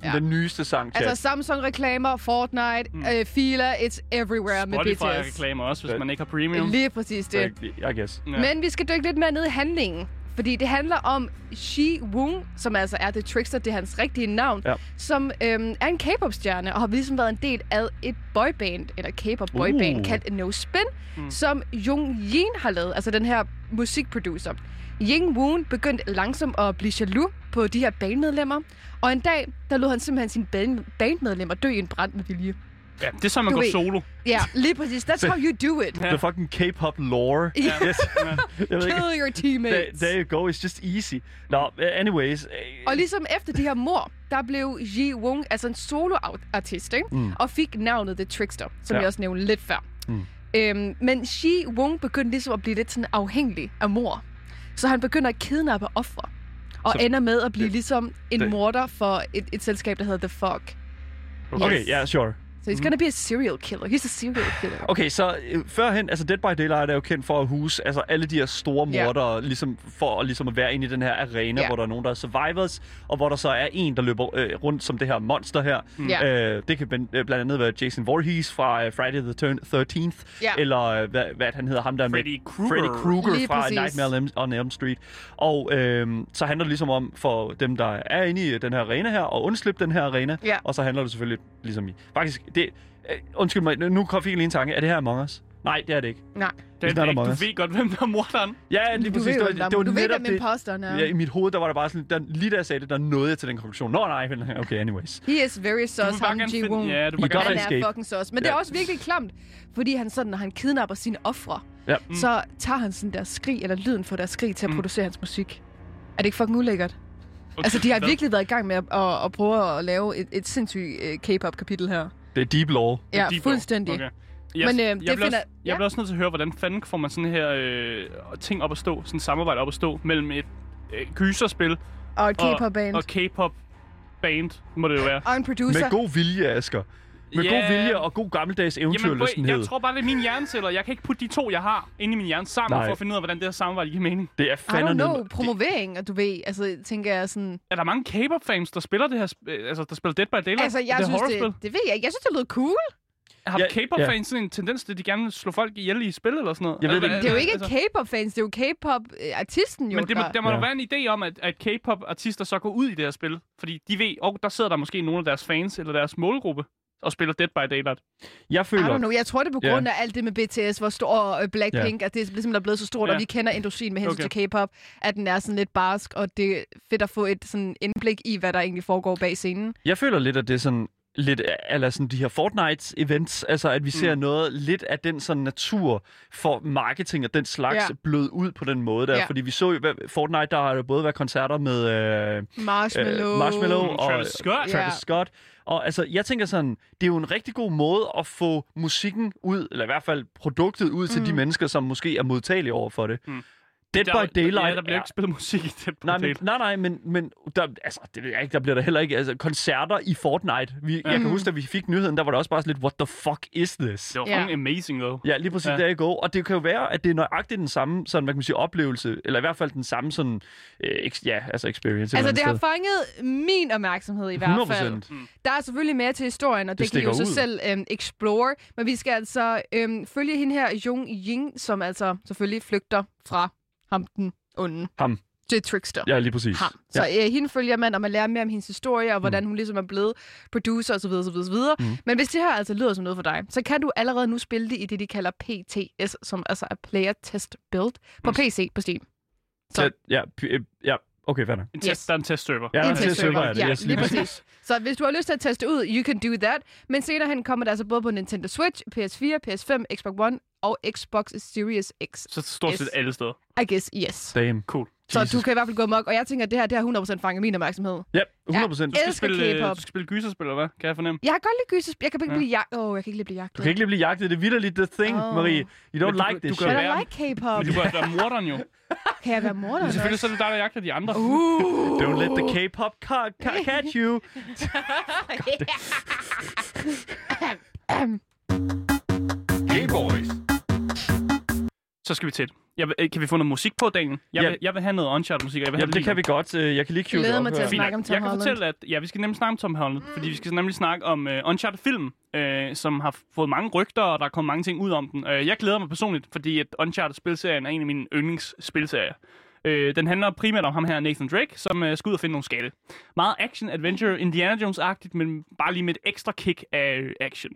Speaker 3: Sang,
Speaker 5: Ja.
Speaker 3: Den nyeste sang, chat.
Speaker 5: Altså Samsung-reklamer, Fortnite, mm. øh, Fila, It's Everywhere med BTS.
Speaker 4: Spotify-reklamer også, hvis man ikke har premium.
Speaker 5: Lige præcis det.
Speaker 3: I guess.
Speaker 4: Ja.
Speaker 5: Ja. Men vi skal dykke lidt mere ned i handlingen. Fordi det handler om Shi Wung, som altså er The Trickster, det er hans rigtige navn,
Speaker 3: Ja.
Speaker 5: som øhm, er en K-pop-stjerne og har ligesom været en del af et boyband, eller K-pop-boyband,
Speaker 3: Uh.
Speaker 5: uh. kaldt No Spin, mm. som Jung Jin har lavet, altså den her musikproducer. Ying Woon begyndte langsomt at blive jaloux på de her bandmedlemmer, og en dag, der lod han simpelthen sine band- bandmedlemmer dø i en brand med vilje.
Speaker 4: Ja, det er så, man
Speaker 5: Du
Speaker 4: går
Speaker 5: ved.
Speaker 4: solo.
Speaker 5: Ja, lige præcis. That's how you do it.
Speaker 4: Ja.
Speaker 3: The fucking K-pop lore.
Speaker 5: Ja.
Speaker 3: Yes. jeg ved ikke.
Speaker 5: Kill
Speaker 3: There,
Speaker 5: your teammates.
Speaker 3: there you go, it's just easy. Nå, anyways. øh,
Speaker 5: Og ligesom efter de her mor, der blev Ji Wong altså en soloartist, ikke? Mm. og fik navnet The Trickster, som
Speaker 3: Ja.
Speaker 5: ja. jeg også nævnte lidt før. Mm. Øhm, men Ji Wong begyndte ligesom at blive lidt sådan afhængig af mor. Så han begynder at kidnappe ofre, og
Speaker 3: Så-
Speaker 5: så, ender med at blive det, ligesom en
Speaker 3: det-
Speaker 5: det. morder for et, et selskab, der hedder The Fog.
Speaker 3: Okay, ja, yeah, sure.
Speaker 5: So he's gonna be a serial killer. He's a serial killer.
Speaker 3: Okay, så øh, førhen, altså Dead by Daylight er jo kendt for at huse altså alle de her store
Speaker 5: Ja.
Speaker 3: mordere, yeah. ligesom for at, ligesom at være inde i den her arena, yeah.
Speaker 5: Ja.
Speaker 3: hvor der er nogen, der er survivors, og hvor der så er en, der løber øh, rundt som det her monster her. Mm.
Speaker 5: Ja.
Speaker 3: Øh, det kan ben- øh, blandt andet være Jason Voorhees fra øh, Friday the Turn- 13th,
Speaker 5: Ja.
Speaker 3: eller øh, hvad, hvad han hedder, ham der
Speaker 4: Freddy
Speaker 3: med
Speaker 4: Krueger.
Speaker 3: Freddy Krueger
Speaker 5: Lige
Speaker 3: fra
Speaker 5: præcis.
Speaker 3: Nightmare on Elm- on Elm Street. Og øh, så handler det ligesom om, for dem, der er inde i den her arena her, og undslippe den her arena,
Speaker 5: Ja.
Speaker 3: og så handler det selvfølgelig ligesom i... Faktisk, det... øh, Undskyld mig, nu kom jeg lige en tanke. Er det her Among Us? Nej, det er det ikke.
Speaker 5: Nej.
Speaker 4: Det
Speaker 3: Not
Speaker 4: er ikke,
Speaker 3: Among
Speaker 4: du
Speaker 3: Us.
Speaker 4: ved godt, hvem der er morderen.
Speaker 3: Ja, lige
Speaker 5: Du
Speaker 3: præcis.
Speaker 5: ved,
Speaker 3: det
Speaker 5: jo,
Speaker 3: var,
Speaker 5: hvem-
Speaker 3: det var
Speaker 5: du ved,
Speaker 3: netop
Speaker 5: hvem imposteren er.
Speaker 3: Ja, i mit hoved, der var der bare sådan... Der, lige da jeg sagde det, der nåede jeg til den konklusion. Nå, nej, men okay, anyways.
Speaker 5: He is very
Speaker 4: Du
Speaker 5: sus,
Speaker 4: vil bare
Speaker 5: ham
Speaker 4: gerne
Speaker 5: Ji
Speaker 4: finde-
Speaker 5: Wong.
Speaker 4: Ja, du
Speaker 3: I
Speaker 4: vil
Speaker 3: gør
Speaker 4: bare
Speaker 5: Han
Speaker 3: det.
Speaker 4: gerne...
Speaker 5: er
Speaker 3: escape.
Speaker 5: fucking sus. Men det er
Speaker 3: Ja.
Speaker 5: også virkelig klamt, fordi han sådan, når han kidnapper sine ofre,
Speaker 3: Ja.
Speaker 5: mm. så tager han sådan deres skrig, eller lyden fra deres skrig, til at
Speaker 4: Mm.
Speaker 5: producere hans musik. Er det ikke fucking ulækkert?
Speaker 4: Okay,
Speaker 5: Altså, de har
Speaker 4: hvad?
Speaker 5: virkelig været i gang med at, at, at prøve at lave et, et sindssygt øh, K-pop-kapitel her.
Speaker 3: Det er deep lore.
Speaker 5: Ja,
Speaker 4: Deep Blue.
Speaker 5: fuldstændig.
Speaker 4: Okay.
Speaker 5: Men, øh,
Speaker 4: jeg
Speaker 5: det
Speaker 4: bliver
Speaker 5: finder-
Speaker 4: også,
Speaker 5: ja.
Speaker 4: jeg bliver også nødt til at høre, hvordan fanden får man sådan her øh, ting op at stå, sådan et samarbejde op at stå mellem et øh, gyserspil
Speaker 5: Og et
Speaker 4: og,
Speaker 5: K-pop-band.
Speaker 4: og
Speaker 5: Og,
Speaker 4: K-pop band, må det jo være.
Speaker 5: og en producer.
Speaker 3: Med god vilje, Asger. Med yeah.
Speaker 4: Ja.
Speaker 3: god vilje og god gammeldags
Speaker 4: Jamen, prøv,
Speaker 3: eventyrlystenhed.
Speaker 4: jeg tror bare, det er mine hjerneceller. Jeg kan ikke putte de to, jeg har, inde i min hjerne sammen,
Speaker 3: Nej.
Speaker 4: for at finde ud af, hvordan det her samarbejde giver mening.
Speaker 3: Det er
Speaker 5: I don't
Speaker 3: fandme...
Speaker 5: know, promovering, og du ved, altså, tænker jeg sådan...
Speaker 4: Er der mange K-pop-fans, der spiller det her, sp- øh, altså, der spiller Dead by Daylight?
Speaker 5: Altså, jeg
Speaker 4: det
Speaker 5: synes,
Speaker 4: horrorspil?
Speaker 5: det, det ved jeg ikke. Jeg synes, det lød cool.
Speaker 4: Har
Speaker 3: Ja,
Speaker 4: K-pop-fans
Speaker 3: ja.
Speaker 4: sådan en tendens til, at de gerne vil slå folk ihjel i spil eller sådan noget?
Speaker 3: Jeg ved
Speaker 4: Eller
Speaker 3: det
Speaker 4: hvad-
Speaker 5: Det er jo ikke
Speaker 4: altså-
Speaker 5: K-pop-fans, det er jo K-pop-artisten, jo.
Speaker 4: Men det må,
Speaker 5: der-
Speaker 4: der må
Speaker 3: Ja.
Speaker 4: jo være en idé om, at, at K-pop-artister så går ud i det her spil. Fordi de ved, og der sidder der måske nogle af deres fans eller deres målgruppe og spiller Dead by Daylight.
Speaker 3: Jeg
Speaker 5: I don't
Speaker 3: føler...
Speaker 5: know. Jeg tror, det er på
Speaker 3: Ja.
Speaker 5: grund af alt det med BTS, hvor stor og øh, Blackpink, at det er ligesom der er blevet så stort,
Speaker 4: Ja.
Speaker 5: og vi kender industrien med hensyn
Speaker 4: Okay.
Speaker 5: til K-pop, at den er sådan lidt barsk, og det er fedt at få et sådan indblik i, hvad der egentlig foregår bag scenen.
Speaker 3: Jeg føler lidt, at det er sådan lidt eller sådan de her Fortnite-events, altså at vi ser noget lidt af den sådan natur for marketing og den slags ja.
Speaker 5: Ja.
Speaker 3: blød ud på den måde der, ja.
Speaker 5: Ja.
Speaker 3: fordi vi så jo, hvad- Fortnite, der har jo både været koncerter med øh,
Speaker 5: Marshmallow.
Speaker 3: øh, Marshmallow
Speaker 5: Altså,
Speaker 4: Mm,
Speaker 3: og
Speaker 4: Travis Scott.
Speaker 3: Travis
Speaker 5: Ja.
Speaker 3: Scott. Og altså, jeg tænker sådan, det er jo en rigtig god måde at få musikken ud, eller i hvert fald produktet ud mm. til de mennesker, som måske er modtagelige over for det. Mm. Dead
Speaker 4: Der-
Speaker 3: by Daylight
Speaker 4: Ja, der bliver
Speaker 3: er-
Speaker 4: ikke spillet musik i Dead by
Speaker 3: Nej, men,
Speaker 4: Daylight.
Speaker 3: nej, nej, men, men der, altså, det ved jeg ikke, der bliver der heller ikke altså, koncerter i Fortnite. Vi, ja.
Speaker 5: Mm.
Speaker 3: Jeg kan huske, da vi fik nyheden, der var der også bare sådan lidt, what the fuck is this?
Speaker 4: Det var
Speaker 5: Ja.
Speaker 4: fucking amazing, though.
Speaker 3: Ja, lige præcis, ja.
Speaker 4: Ja.
Speaker 3: der i går. Og det kan jo være, at det er nøjagtigt den samme sådan, hvad kan man sige, oplevelse, eller i hvert fald den samme sådan, øh, eks- ja, altså experience. et
Speaker 5: Altså,
Speaker 3: eller
Speaker 5: det har
Speaker 3: andet
Speaker 5: fanget min opmærksted i hvert
Speaker 3: sted.
Speaker 5: fald. Der er selvfølgelig mere til historien, og
Speaker 3: Det
Speaker 5: det, det kan I jo
Speaker 3: stikker
Speaker 5: så selv øhm, explore. Men vi skal altså øhm, følge hende her, Jung Ying, som altså selvfølgelig flygter fra ham den onde.
Speaker 3: Ham.
Speaker 5: Det er Trickster.
Speaker 3: 100%. Ja, lige præcis.
Speaker 5: ham.
Speaker 3: Ja.
Speaker 5: Så øh, hende følger man, og man lærer mere om hendes historie, og hvordan mm. hun ligesom er blevet producer osv. osv., osv. Mm. Men hvis det her altså lyder som noget for dig, så kan du allerede nu spille det i det, de kalder PTS, som altså er Player Test Build på PC på Steam.
Speaker 3: Så. Ja, ja, p- øh, ja, Okay, hvad
Speaker 4: En test,
Speaker 5: Yes.
Speaker 4: Der er en testserver.
Speaker 3: Ja,
Speaker 5: En
Speaker 3: der er en
Speaker 5: testserver.
Speaker 3: testserver er det.
Speaker 5: Ja,
Speaker 3: yes,
Speaker 5: lige præcis. Så hvis du har lyst til at teste ud, you can do that. Men senere hen kommer det altså både på Nintendo Switch, PS4, PS5, Xbox One og Xbox Series X.
Speaker 4: Så stort set
Speaker 5: Yes.
Speaker 4: alle steder.
Speaker 5: I guess yes.
Speaker 3: Damn.
Speaker 4: Cool.
Speaker 5: Så
Speaker 3: Jesus.
Speaker 5: du kan i hvert fald gå mok, og jeg tænker, at det her det har 100% fanget min opmærksomhed.
Speaker 3: Ja, 100 procent.
Speaker 5: Ja.
Speaker 4: Du skal
Speaker 5: Elsker
Speaker 4: spille, øh,
Speaker 5: K-pop.
Speaker 4: du skal spille gyserspil, eller hvad? Kan jeg fornemme?
Speaker 5: Jeg kan godt lide gyses... Jeg kan ikke
Speaker 4: Ja.
Speaker 5: blive jagt... Åh, oh, jeg kan ikke lide at blive jagtet.
Speaker 3: Du kan ikke lige blive jagtet. Det er vidderligt the thing,
Speaker 5: Åh.
Speaker 3: Marie. You
Speaker 4: Men
Speaker 3: don't
Speaker 4: du-
Speaker 3: like
Speaker 4: du
Speaker 3: this
Speaker 4: gør
Speaker 5: But
Speaker 3: shit.
Speaker 4: det.
Speaker 5: I
Speaker 4: være-
Speaker 5: like K-pop.
Speaker 4: Men du kan altså være morderen jo.
Speaker 5: Kan jeg være morder?
Speaker 4: Men selvfølgelig så er det dig, der jagter de andre.
Speaker 5: Uh.
Speaker 3: Don't let the K-pop ca- ca- catch you.
Speaker 1: Game Boys.
Speaker 4: Så skal vi til det. Jeg vil, øh, kan vi få noget musik på, Daniel? Jeg,
Speaker 3: Ja.
Speaker 4: vil, jeg vil have noget Uncharted-musik. og Jeg vil have
Speaker 3: Jamen, det kan vi godt. Øh, Jeg kan lige cue
Speaker 5: Glæder
Speaker 3: det op
Speaker 5: mig til
Speaker 3: her.
Speaker 5: at
Speaker 4: Fint
Speaker 5: snakke om
Speaker 4: nok.
Speaker 5: Tom
Speaker 4: jeg kan
Speaker 5: Holland.
Speaker 4: fortælle, at ja, vi skal nemlig snakke om Tom Holland, mm. fordi vi skal nemlig snakke om uh, Uncharted-film, uh, som har fået mange rygter, og der er kommet mange ting ud om den. Uh, jeg glæder mig personligt, fordi at Uncharted-spilserien er en af mine yndlingsspilserier. Øh, den handler primært om ham her, Nathan Drake, som øh, skal ud og finde nogle skatte. Meget action-adventure, Indiana Jones-agtigt, men bare lige med et ekstra kick af øh, action.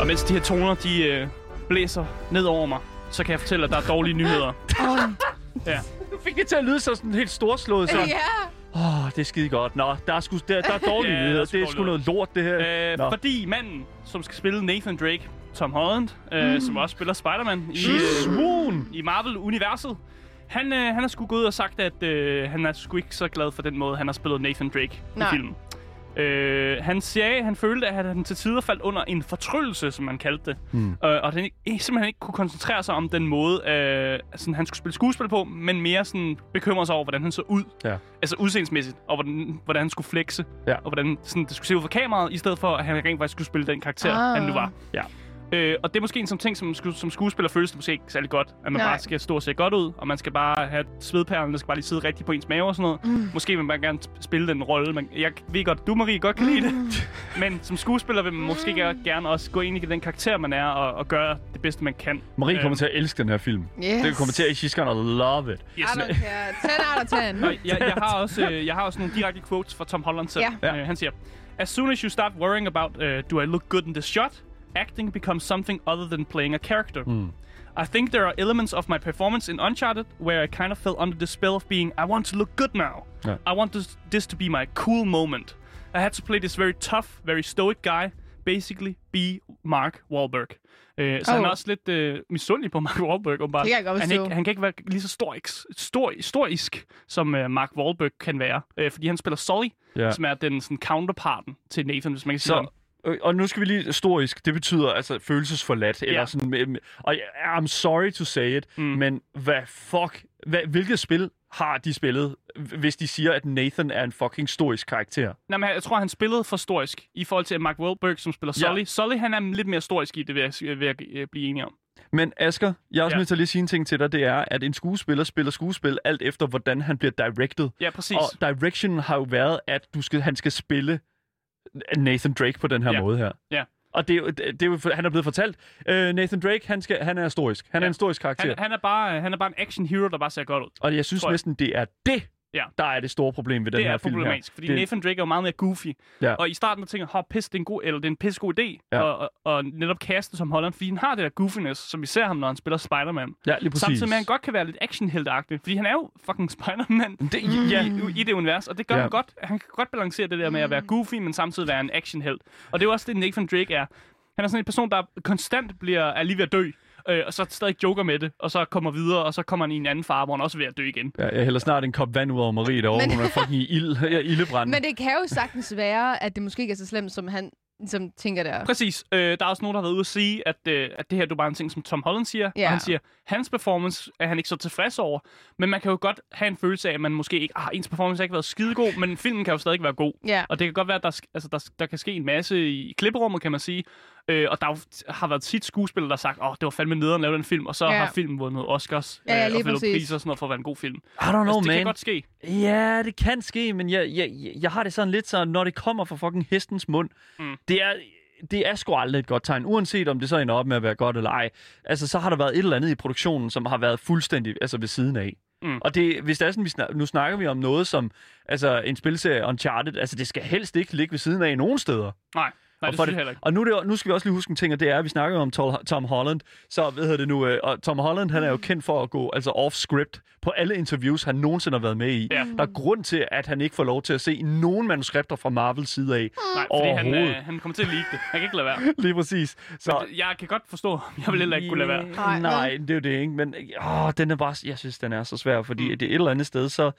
Speaker 4: Og mens de her toner, de øh, blæser ned over mig, så kan jeg fortælle, at der er dårlige nyheder. Ja.
Speaker 3: Du fik det til at lyde så sådan helt storslået. Sådan.
Speaker 5: Ja.
Speaker 3: Åh, oh, det er skide godt. Nå, der er, sgu, der, der er dårlige
Speaker 4: Ja,
Speaker 3: yeah,
Speaker 4: der
Speaker 3: nyheder.
Speaker 4: er
Speaker 3: Det er
Speaker 4: sgu
Speaker 3: sgu noget lort, det her.
Speaker 4: Øh,
Speaker 3: Nå.
Speaker 4: fordi manden, som skal spille Nathan Drake, Tom Holland, øh, som også spiller Spider-Man i, øh,
Speaker 3: Swoon!
Speaker 4: i Marvel-universet, han, øh, han har sgu gået ud og sagt, at øh, han er sgu ikke så glad for den måde, han har spillet Nathan Drake
Speaker 5: Nej.
Speaker 4: i filmen. Øh, han sagde, han følte, at han til tider faldt under en fortryllelse, som man kaldte det. Mm. Øh, og at han ikke, ikke- simpelthen ikke kunne koncentrere sig om den måde, øh, sådan, han skulle spille skuespil på, men mere sådan, bekymre sig over, hvordan han så ud.
Speaker 3: Ja.
Speaker 4: Altså udseendsmæssigt, og hvordan, hvordan han skulle flexe,
Speaker 3: Ja.
Speaker 4: og hvordan sådan, det skulle se ud for kameraet, i stedet for, at han rent faktisk skulle spille den karakter,
Speaker 5: Ah.
Speaker 4: ah. han nu var.
Speaker 3: Ja.
Speaker 4: Øh, og det er måske en som ting, som, sku- som skuespiller føles det måske ikke særlig godt, at man
Speaker 5: Nej.
Speaker 4: bare skal stå og se godt ud, og man skal bare have svedperlen, der skal bare lige sidde rigtigt på ens mave og sådan noget. Mm. Måske vil man gerne sp- spille den rolle. Man, jeg ved godt, du Marie godt kan lide det,
Speaker 5: Mm.
Speaker 4: men som skuespiller vil man måske gerne- gerne også gå ind i den karakter, man er, og, og gøre det bedste, man kan.
Speaker 3: Marie kommer
Speaker 4: Øhm,
Speaker 3: til at elske den her film.
Speaker 5: Yes.
Speaker 3: Det kommer til at, she's gonna love it.
Speaker 5: I
Speaker 4: Yes,
Speaker 5: don't care. 10 out of 10.
Speaker 4: Og jeg, jeg, har også, øh, jeg har også nogle direkte quotes fra Tom Holland selv.
Speaker 5: Ja.
Speaker 4: Yeah. Øh, han siger, As soon as you start worrying about, uh, do I look good in this shot, acting becomes something other than playing a character. Mm. I think there are elements of my performance in Uncharted where I kind of fell under the spell of being, I want to look good now.
Speaker 3: Ja.
Speaker 4: I want this, this to be my cool moment. I had to play this very tough, very stoic guy, basically be Mark Wahlberg. Øh, så oh. han er
Speaker 5: Oh.
Speaker 4: også lidt øh, misundelig på Mark Wahlberg, åbenbart.
Speaker 5: Det kan jeg godt
Speaker 4: han,
Speaker 5: forstå.
Speaker 4: ikke, han kan ikke være lige så storisk, stor, storisk som øh, Mark Wahlberg kan være, øh, fordi han spiller Sully,
Speaker 3: Ja.
Speaker 4: som er den sådan, counterparten til Nathan, hvis man kan sige
Speaker 3: Så,
Speaker 4: sådan.
Speaker 3: øh, og nu skal vi lige historisk. Det betyder altså følelsesforladt. Eller
Speaker 4: Ja.
Speaker 3: sådan, øh, og jeg- I'm sorry to say it, mm. men hvad fuck... Hvad, hvilket spil har de spillet, hvis de siger, at Nathan er en fucking storisk karakter?
Speaker 4: Nej, men jeg tror, han spillede for storisk i forhold til Mark Wahlberg, som spiller
Speaker 3: Ja.
Speaker 4: Sully. Sully, han er lidt mere storisk i det, vil jeg, vil jeg øh, blive enig om.
Speaker 3: Men Asker, jeg er også
Speaker 4: Ja.
Speaker 3: nødt til at lige sige en ting til dig, det er, at en skuespiller spiller skuespil alt efter, hvordan han bliver directed.
Speaker 4: Ja, præcis.
Speaker 3: Og direction har jo været, at du skal, han skal spille Nathan Drake på den her
Speaker 4: Ja.
Speaker 3: måde her.
Speaker 4: Ja.
Speaker 3: Og det er, jo- det det er jo, han er blevet fortalt, øh, Nathan Drake, han, skal, han er historisk. Han ja. er
Speaker 4: Ja.
Speaker 3: en historisk karakter.
Speaker 4: Han, han, er bare, øh, han er bare en action hero, der bare ser godt ud.
Speaker 3: og jeg synes
Speaker 4: tror jeg.
Speaker 3: næsten, det er det,
Speaker 4: Ja.
Speaker 3: der er det store problem ved den
Speaker 4: det
Speaker 3: her
Speaker 4: er
Speaker 3: film her.
Speaker 4: problematisk, fordi det... Nathan Drake er jo meget mere goofy.
Speaker 3: Ja.
Speaker 4: Og i starten der tænker jeg, "Hov, pis, det er en god, eller det er en pissegod idé,
Speaker 3: Ja.
Speaker 4: ja. og, og, og, netop kaste som Holland, fordi han har det der goofiness, som vi ser ham, når han spiller Spider-Man.
Speaker 3: Ja, lige præcis.
Speaker 4: Samtidig med, at han godt kan være lidt actionheltagtig, fordi han er jo fucking Spider-Man det, ja. i, i det univers, og det gør
Speaker 3: Ja.
Speaker 4: ja. han godt. Han kan godt balancere det der med at være goofy, men samtidig være en actionhelt. Og det er jo også det, Nathan Drake er. Han er sådan en person, der konstant bliver, er lige ved at dø, øh, og så stadig joker med det, og så kommer videre, og så kommer han i en anden farve, hvor han også er ved at dø igen.
Speaker 3: Ja, jeg hælder snart en kop vand ud over Marie derovre,
Speaker 5: Men-
Speaker 3: hun er fucking i ild, ja, ildebrand.
Speaker 5: Men det kan jo sagtens være, at det måske ikke er så slemt, som han som tænker der.
Speaker 4: Præcis. Øh, der er også nogen, der har været ude at sige, at, øh, at det her det er bare en ting, som Tom Holland siger.
Speaker 5: Ja.
Speaker 4: Og han siger, hans performance er han ikke så tilfreds over. Men man kan jo godt have en følelse af, at man måske ikke... Ah, ens performance har ikke været skidegod, men filmen kan jo stadig være god.
Speaker 5: Ja.
Speaker 4: Og det kan godt være, at der, sk- altså, der, der kan ske en masse i klipperummet, kan man sige. Øh, og der er jo t- har været tit skuespillere, der har sagt, åh, oh, det var fandme nederen at lave den film, og så
Speaker 5: Ja.
Speaker 4: ja. har filmen vundet Oscars øh,
Speaker 5: Ja, ja, lige
Speaker 4: og vundet
Speaker 5: præcis.
Speaker 4: priser og sådan noget for at være en god film.
Speaker 3: I don't know,
Speaker 4: altså, det
Speaker 3: man.
Speaker 4: kan godt ske.
Speaker 3: Ja, det kan ske, men jeg, jeg, jeg- jeg har det sådan lidt sådan, når det kommer fra fucking hestens mund, mm. det er... Det er sgu aldrig et godt tegn, uanset om det så ender op med at være godt eller ej. Altså, så har der været et eller andet i produktionen, som har været fuldstændig altså, ved siden af.
Speaker 4: Mm.
Speaker 3: Og det, hvis det er sådan, vi snak, nu snakker vi om noget som altså, en spilserie Uncharted, altså det skal helst ikke ligge ved siden af nogen steder.
Speaker 4: Nej. Nej,
Speaker 3: og,
Speaker 4: det
Speaker 3: for
Speaker 4: synes jeg heller ikke.
Speaker 3: og nu, er det, jo- nu skal vi også lige huske en ting, og det er, at vi snakker jo om Tol- Tom Holland. Så hvad hedder det nu? Øh, og Tom Holland, han er
Speaker 4: Mm.
Speaker 3: jo kendt for at gå altså off-script på alle interviews, han nogensinde har været med i.
Speaker 4: Ja.
Speaker 3: Der er grund til, at han ikke får lov til at se nogen manuskripter fra Marvels side af.
Speaker 4: Nej, fordi han,
Speaker 3: Overhovedet.
Speaker 4: øh, han kommer til at like det. Han kan ikke lade være.
Speaker 3: Lige præcis. Så,
Speaker 4: Jeg kan godt forstå, ham. jeg vil heller ikke kunne lade være.
Speaker 2: Nej,
Speaker 3: Nej, Nej det er jo det, ikke? Men åh, den er bare, jeg synes, den er så svær, fordi
Speaker 4: Mm.
Speaker 3: det er et eller andet sted, så,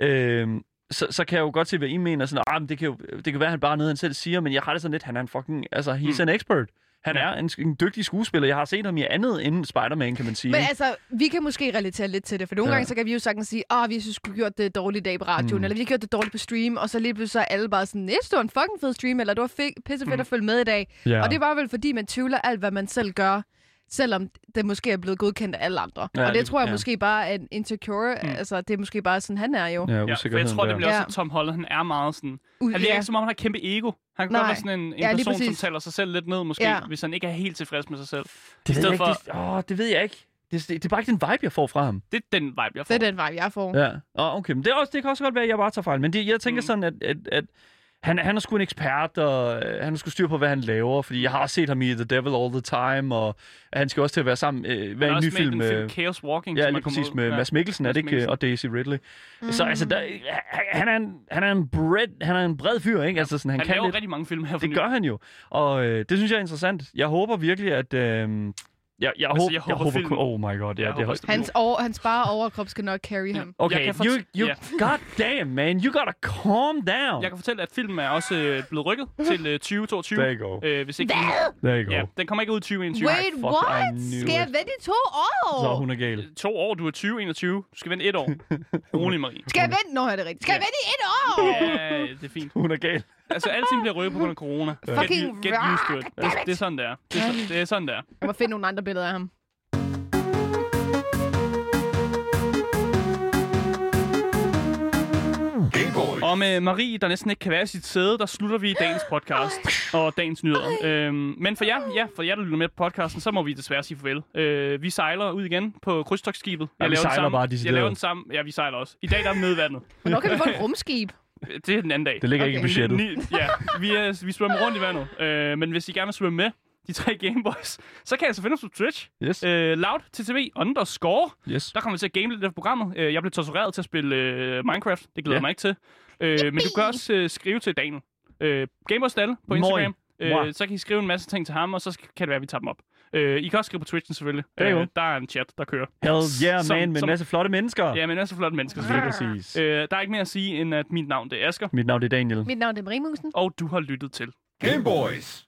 Speaker 3: øh, så, så kan jeg jo godt se, hvad I mener. Sådan, ah, men det, kan jo, det kan være, at han bare er noget, han selv siger, men jeg har det sådan lidt, han er en fucking, altså, he's mm. an expert. Han
Speaker 4: Ja.
Speaker 3: er en, en dygtig skuespiller. Jeg har set ham i andet end Spider-Man, kan man sige.
Speaker 5: Men
Speaker 3: ikke?
Speaker 5: altså, vi kan måske relatere lidt til det, for nogle
Speaker 3: Ja.
Speaker 5: ja. gange så kan vi jo sagtens sige, åh, vi synes, vi har gjort det dårligt i dag på radioen,
Speaker 3: Mm.
Speaker 5: mm. eller vi har gjort det dårligt på stream, og så lige pludselig så er alle bare sådan, næste det var en fucking fed stream, eller det var fe- pissefedt
Speaker 4: Mm.
Speaker 5: mm. at følge med i dag.
Speaker 3: ja.
Speaker 5: Ja. Og det var vel, fordi man tvivler alt, hvad man selv gør, selvom det måske er blevet godkendt af alle andre.
Speaker 3: Ja,
Speaker 5: Ja, og
Speaker 3: lige-
Speaker 5: det tror jeg
Speaker 3: ja.
Speaker 5: ja. måske bare er en insecure,
Speaker 4: Mm.
Speaker 5: mm. altså det er måske bare sådan, han er jo.
Speaker 3: Ja,
Speaker 4: Ja, for jeg
Speaker 3: usikkerheden
Speaker 4: tror
Speaker 3: der.
Speaker 4: nemlig også, at
Speaker 5: Ja.
Speaker 4: Tom Holland han er meget sådan...
Speaker 5: Ud-
Speaker 4: Han virker
Speaker 5: ja.
Speaker 4: ikke, som om han har kæmpe ego. Han kan
Speaker 5: Nej.
Speaker 4: godt være sådan en, en
Speaker 5: Ja, lige
Speaker 4: person, som
Speaker 5: præcis.
Speaker 4: taler sig selv lidt ned, måske,
Speaker 5: Ja.
Speaker 4: hvis han ikke er helt tilfreds med sig selv. I
Speaker 3: det, ved jeg
Speaker 4: stedet
Speaker 3: ikke,
Speaker 4: for-
Speaker 3: det, åh, det ved jeg ikke. Det, det, det er bare ikke den vibe, jeg får fra ham.
Speaker 4: Det er den vibe, jeg får.
Speaker 5: Det er den vibe, jeg får.
Speaker 3: Ja, og okay, men det, er også, det kan også godt være, at jeg bare tager fejl, men det, jeg tænker
Speaker 4: Mm.
Speaker 3: mm. sådan, at, at, at han, han er sgu en ekspert, og øh, han er sgu styr på, hvad han laver, fordi jeg har også set ham i The Devil All The Time, og han skal også til at være sammen, øh,
Speaker 4: Han
Speaker 3: være
Speaker 4: er
Speaker 3: i en ny
Speaker 4: også med i
Speaker 3: film.
Speaker 4: den film
Speaker 3: øh,
Speaker 4: Chaos Walking,
Speaker 3: Ja,
Speaker 4: som er
Speaker 3: lige
Speaker 4: kommet
Speaker 3: præcis
Speaker 4: ud.
Speaker 3: med ja. Mads Mikkelsen, er
Speaker 4: Mads
Speaker 3: det ikke? øh,
Speaker 4: Mikkelsen.
Speaker 3: Og Daisy Ridley. Mm. Så altså, der, han, er en, han er en bred, han er en bred fyr, ikke? Altså, sådan, han,
Speaker 4: Han
Speaker 3: kan
Speaker 4: laver
Speaker 3: lidt.
Speaker 4: rigtig mange film her for
Speaker 3: Det
Speaker 4: nylig.
Speaker 3: gør han jo. Og øh, det synes jeg er interessant. Jeg håber virkelig, at... Øh, jeg, jeg, håber,
Speaker 4: Altså, jeg
Speaker 3: jeg
Speaker 4: håber
Speaker 3: håber,
Speaker 4: filmen-
Speaker 3: kun- Oh my god, ja,
Speaker 4: Jeg
Speaker 3: det
Speaker 4: håber
Speaker 3: er
Speaker 4: filmen-
Speaker 5: Hans, over, hans bare overkrop skal nok carry ham.
Speaker 4: Jeg
Speaker 3: Okay,
Speaker 4: kan
Speaker 3: you,
Speaker 4: fort-
Speaker 3: you,
Speaker 4: ja.
Speaker 3: god damn, man, you gotta calm down.
Speaker 4: Jeg kan fortælle, at filmen er også øh, blevet rykket til øh, 2022.
Speaker 3: There you go.
Speaker 4: Øh, hvis ikke
Speaker 3: There you go.
Speaker 4: ja, den kommer ikke ud i 2021.
Speaker 5: Wait,
Speaker 3: fuck, I
Speaker 5: what?
Speaker 3: knew
Speaker 5: Skal jeg
Speaker 3: it.
Speaker 5: vente i to år?
Speaker 3: Så hun er gal.
Speaker 4: To år, du er 2021. Du skal vente et år. Rolig, Marie.
Speaker 5: Skal jeg vente? Nå, er det rigtigt. Skal jeg
Speaker 4: Ja.
Speaker 5: vente i et år?
Speaker 4: Ja, det er fint.
Speaker 3: Hun er gal.
Speaker 4: Altså, alting bliver rykket på grund af corona. Altså,
Speaker 5: Fucking
Speaker 4: get, u- get used to it.
Speaker 5: rock,
Speaker 4: Det,
Speaker 5: damn it.
Speaker 4: det er sådan, det er. Det er, sådan, det er sådan, det er.
Speaker 5: Jeg må finde nogle andre billeder af ham.
Speaker 1: Gay boys.
Speaker 4: Og med Marie, der næsten ikke kan være i sit sæde, der slutter vi dagens podcast og dagens nyheder. Øhm, men for jer, ja, for jer, der lytter med på podcasten, så må vi desværre sige farvel. Øh, vi sejler ud igen på krydstogsskibet.
Speaker 3: vi
Speaker 4: laver den
Speaker 3: sejler
Speaker 4: samme-
Speaker 3: bare
Speaker 4: Jeg
Speaker 3: decideret.
Speaker 4: laver den samme. Ja, vi sejler også. I dag der er vi nede i vandet.
Speaker 5: Hvornår kan vi få et rumskib?
Speaker 4: Det er den anden dag.
Speaker 3: Det ligger okay. ikke i
Speaker 5: Okay.
Speaker 3: budgettet.
Speaker 4: Ni, ja, vi, er, vi svømmer rundt i vandet. Øh, men hvis I gerne vil svømme med, de tre Gameboys, så kan jeg altså finde os på Twitch.
Speaker 3: Yes,
Speaker 4: Øh, loud, TTV, underscore.
Speaker 3: yes.
Speaker 4: Der kommer vi til at game lidt af programmet. Øh, jeg blev tortureret til at spille øh, Minecraft. Det glæder
Speaker 3: Ja.
Speaker 4: yeah. mig ikke til. Øh, men du kan også øh, skrive til Daniel. Øh, Gamerstalle på
Speaker 3: Moi.
Speaker 4: Instagram.
Speaker 3: Moi.
Speaker 4: Øh, så kan I skrive en masse ting til ham, og så sk- kan det være, at vi tager dem op. Øh, I kan også skrive på Twitchen selvfølgelig.
Speaker 3: Ja, jo.
Speaker 4: Øh, der er en chat, der kører.
Speaker 3: Hell yeah,
Speaker 4: Som-
Speaker 3: man, med en
Speaker 4: som-
Speaker 3: masse flotte mennesker.
Speaker 4: Ja, men er så flot mennesker.
Speaker 3: Lige
Speaker 4: selvfølgelig.
Speaker 3: præcis.
Speaker 4: Øh, der er ikke mere at sige, end at mit navn det er Asger,
Speaker 3: Mit navn det er Daniel.
Speaker 5: Mit navn er Marie Musen.
Speaker 4: og du har lyttet til.
Speaker 1: Gay boys.